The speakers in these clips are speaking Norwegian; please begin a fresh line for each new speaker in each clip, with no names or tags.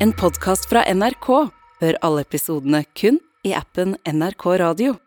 En podkast fra NRK. Hør alle episodene kun i appen NRK Radio.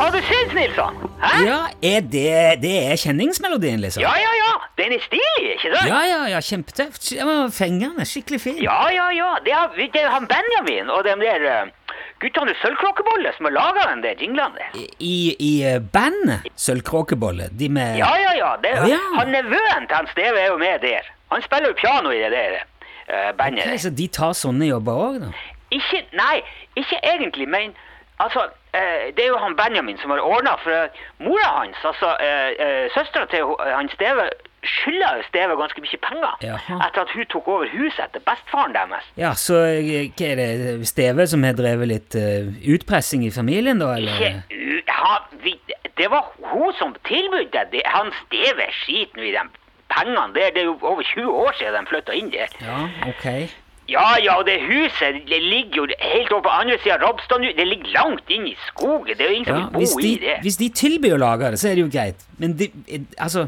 Har du syns, Nilsson? Hæ?
Ja, er det, det er kjenningsmelodien, liksom?
Ja, ja, ja. Den er stilig, ikke sant?
ja, ja, ja kjempetøft. Ja, men Fengende, skikkelig fin.
ja, ja. ja. Det, er, det er han Benjamin og de der eh, guttene i Sølvkråkebolle som har laga den der jinglene. der.
I, i eh, bandet Sølvkråkebolle, de med
Ja, ja, ja. Det,
Å, ja.
Han nevøen til han Steve er jo med der. Han spiller jo piano i det der eh, bandet.
Ok, Så de tar sånne jobber òg, da?
Ikke, nei, ikke egentlig, men altså, eh, det er jo han Benjamin som har ordna, for eh, mora hans, altså eh, eh, søstera til ho- han Steve, skylder jo Steve ganske mye penger
Jaha.
etter at hun tok over huset etter bestefaren deres.
Ja, så eh, hva er det Steve som har drevet litt eh, utpressing i familien, da,
Ikke,
eller?
u- han- vi, det var hun som tilbød det. Han Steve skiter nå i de pengene der. Det er jo over 20 år siden de flytta inn der.
Ja, ok.
Ja, ja, og det huset det ligger jo helt over på andre sida av Robstad nå. Det ligger langt inn i skogen. Det er jo ingen
Ja,
som vil
hvis,
bo
de,
i det.
hvis de tilbyr å lage det, så er det jo greit. Men de, eh, altså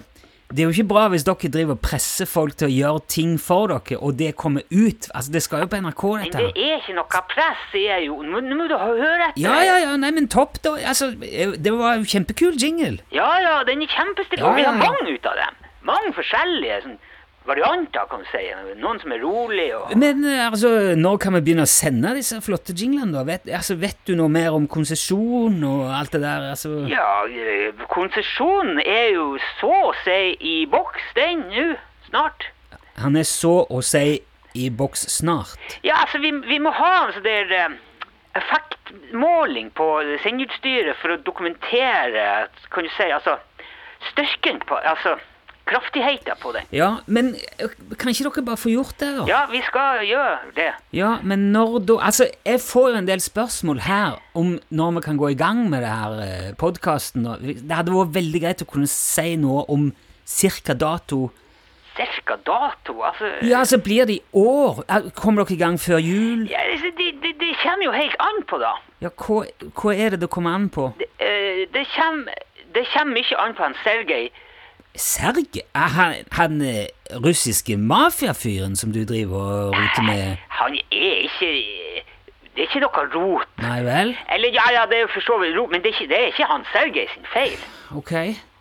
det er jo ikke bra hvis dere driver og presser folk til å gjøre ting for dere, og det kommer ut. Altså, Det skal jo på NRK,
Men
dette.
det
her.
er ikke noe press, sier jeg jo. Nå nå må du høre etter.
Ja, ja, ja, nei, men topp, da. Altså, det var jo kjempekul jingle.
ja, ja, den er kjempestilig.
Ja,
Og vi
ja,
har
ja.
mange ut av dem. Mange forskjellige sånn, varianter, kan du si. Noen som er rolig og
Men eh, altså, når kan vi begynne å sende disse flotte jinglene, da? Vet, altså, vet du noe mer om konsesjon og alt det der? Altså,
Ja, eh, konsesjonen er jo så å si i boks, den nå, snart.
Han er så å si i boks snart.
Ja, altså, vi, vi må ha en sånn der eh, effektmåling på sendeutstyret for å dokumentere, kan du si, altså, styrken på, altså, kraftigheten på det.
Ja, men eh, kan ikke dere bare få gjort det, da?
Ja, vi skal gjøre det.
Ja, men når da Altså, jeg får jo en del spørsmål her om når vi kan gå i gang med det her podkasten. Det hadde vært veldig greit å kunne si noe om cirka dato.
Cirka dato, altså.
Ja, så blir det i år. Eh, Kommer dere i gang før jul?
Ja, det, det, det, det kommer jo helt an på, da.
Ja, hva, hva er det det kommer an på?
Det, eh, det kommer, det kommer mye an på han Sergej.
Serg? Er han, han eh, russiske mafiafyren som du driver og roter med?
Han er ikke Det er ikke noe rot.
Nei vel?
Eller ja, ja, det er jo for så vidt rot, men det er ikke, det er ikke han Sergej sin feil.
Ok.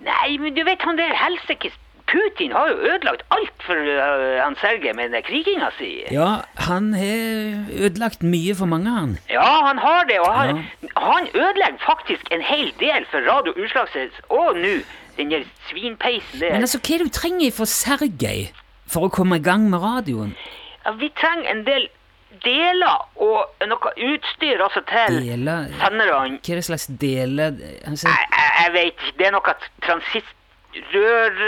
Nei, men du vet han der helsikes Putin har jo ødelagt alt for øh, han Sergej med den kriginga si.
Ja, han har ødelagt mye for mange, han.
Ja, han har det, og han, han ødelegger faktisk en hel del for Radio Utslagsnes og nå den der svinpeisen der.
Men altså, hva er det du trenger for Sergej for å komme i gang med radioen?
Ja, vi trenger en del deler og noe utstyr også til
Deler Hva
senderne.
er det slags deler altså,
Jeg, jeg, jeg vet ikke, det er noe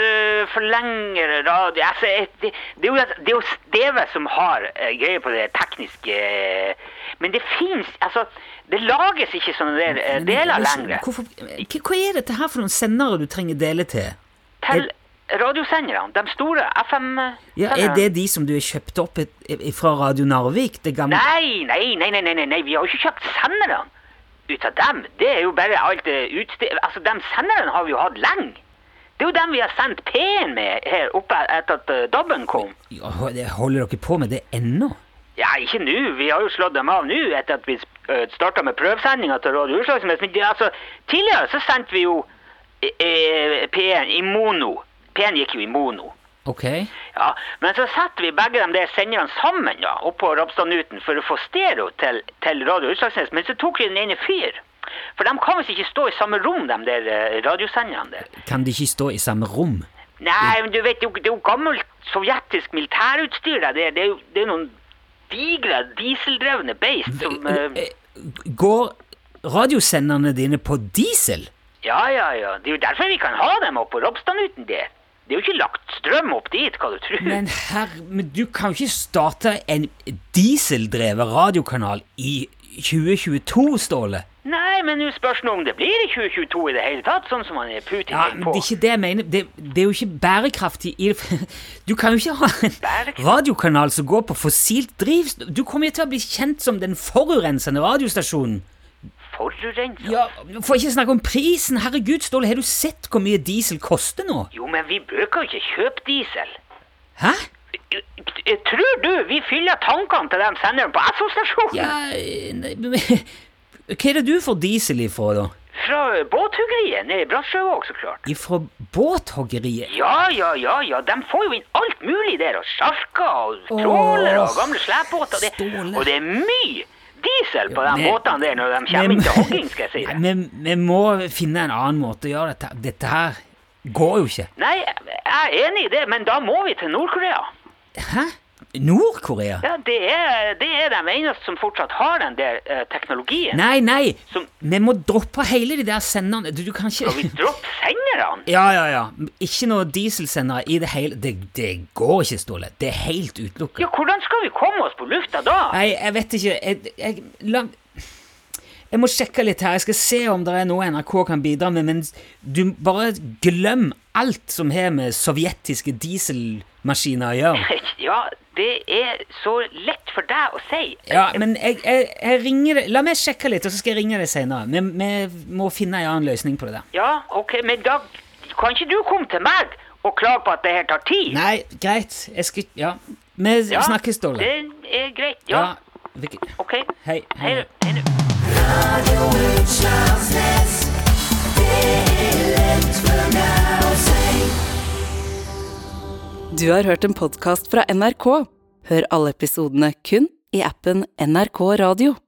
transistorforlengere radio altså, jeg- det, det, er jo, det er jo Steve som har eh, greie på det tekniske eh, Men det fins Altså, det lages ikke sånne der, eh, deler lenger.
Hvorfor, hva, hva er dette her for noen sendere du trenger deler til?
Til radiosenderne. De store FM-senderne.
Ja, er det de som du har kjøpt opp et, fra Radio Narvik? Det gamle
Nei, nei, nei, nei, nei, nei, nei. vi har jo ikke kjøpt senderne ut av dem. Det er jo bare alt det utstyr... Altså, de senderne har vi jo hatt lenge. Det er jo dem vi har sendt P-en med her oppe etter at eh, DAB-en kom.
Ja, hol- det Holder dere på med det ennå?
Ja, ikke nå. Vi har jo slått dem av nå etter at vi starta med prøvesendinga til Radio Utslagsnes. Men det, altså, tidligere så sendte vi jo eh, P1 i mono. P1 gikk jo i mono.
Ok.
Ja, Men så setter vi begge de der senderne sammen da, oppå Rapstadnuten for å få stereo til, til Radio Utslagsnes. Men så tok vi den ene fyr. For de kan visst ikke stå i samme rom, de der eh, radiosenderne der.
Kan de ikke stå i samme rom?
Nei, men du vet, det er jo- det er jo gammelt sovjetisk militærutstyr der. Det, er- det, er jo, det er noen digre dieseldrevne beist som eh,
Eh, Går radiosenderne dine på diesel?
Ja, ja, ja. Det er jo derfor vi kan ha dem oppå Rapstadnuten der. Det er jo ikke lagt strøm opp dit, hva du tror.
Men herre, men du kan jo ikke starte en dieseldrevet radiokanal i 2022, Ståle.
Nei, men nå spørs det om det blir i 2022 i det hele tatt, sånn som han er Putin
Ja,
er
men
på.
Det er ikke det jeg mener. Det, det er jo ikke bærekraftig i det. Du kan jo ikke ha en
Bærekraftig?
radiokanal som går på fossilt drivstoff. Du kommer jo til å bli kjent som den forurensende radiostasjonen.
forurenser.
Ja, For ikke snakke om prisen! Herregud, Ståle, har du sett hvor mye diesel koster nå?
Jo, men vi bruker jo ikke kjøpe diesel.
Hæ?
Tror du vi fyller tankene til den senderen på Esso-stasjonen?
Ja nei, men- Hva er det du får diesel ifra, da?
Fra båthuggeriet nede i Bratsjøvåg, så klart.
Ifra båthoggeriet?
Ja, ja, ja, ja. De får jo inn alt mulig der. Og sjarker og
Åh,
trålere og gamle slepebåter. og Det,
Ståle.
og det er mye diesel på
Ja,
de
men-
båtene der når de kommer inn til hogging, skal jeg si det.
Nei, Vi, vi må finne en annen måte å gjøre dette Dette her går jo ikke.
Nei, jeg er enig i det, men da må vi til Nord-Korea.
Hæ? Nord-Korea?
Ja, det er, det er de eneste som fortsatt har den der eh, teknologien.
Nei, nei!
Som-
Vi må droppe hele de der senderne. Du, du kan
Og vi
ikke
dropper senderne.
Ja, ja, ja. Ikke noe dieselsendere i det hele Det, det går ikke, Ståle. Det er helt utelukka.
Ja, hvordan skal vi komme oss på lufta da?
Nei, jeg vet ikke. Jeg, jeg, la, jeg må sjekke litt her. Jeg skal se om det er noe NRK kan bidra med, men du bare glem alt som har med sovjetiske dieselmaskiner å gjøre.
Ja, det er så lett for deg å si.
Ja, men jeg, jeg, jeg ringer deg La meg sjekke litt, og så skal jeg ringe deg senere. Vi, vi må finne en annen løsning på det der.
Ja, ok, men da kan ikke du komme til meg og klage på at det her tar tid?
Nei, greit. Jeg skal Ja. Vi
ja,
snakkes, Ståle.
Det er greit, ja.
vi-
Ok.
Hei.
Hei, du. hei du.
Du har hørt en podkast fra NRK. Hør alle episodene kun i appen NRK Radio.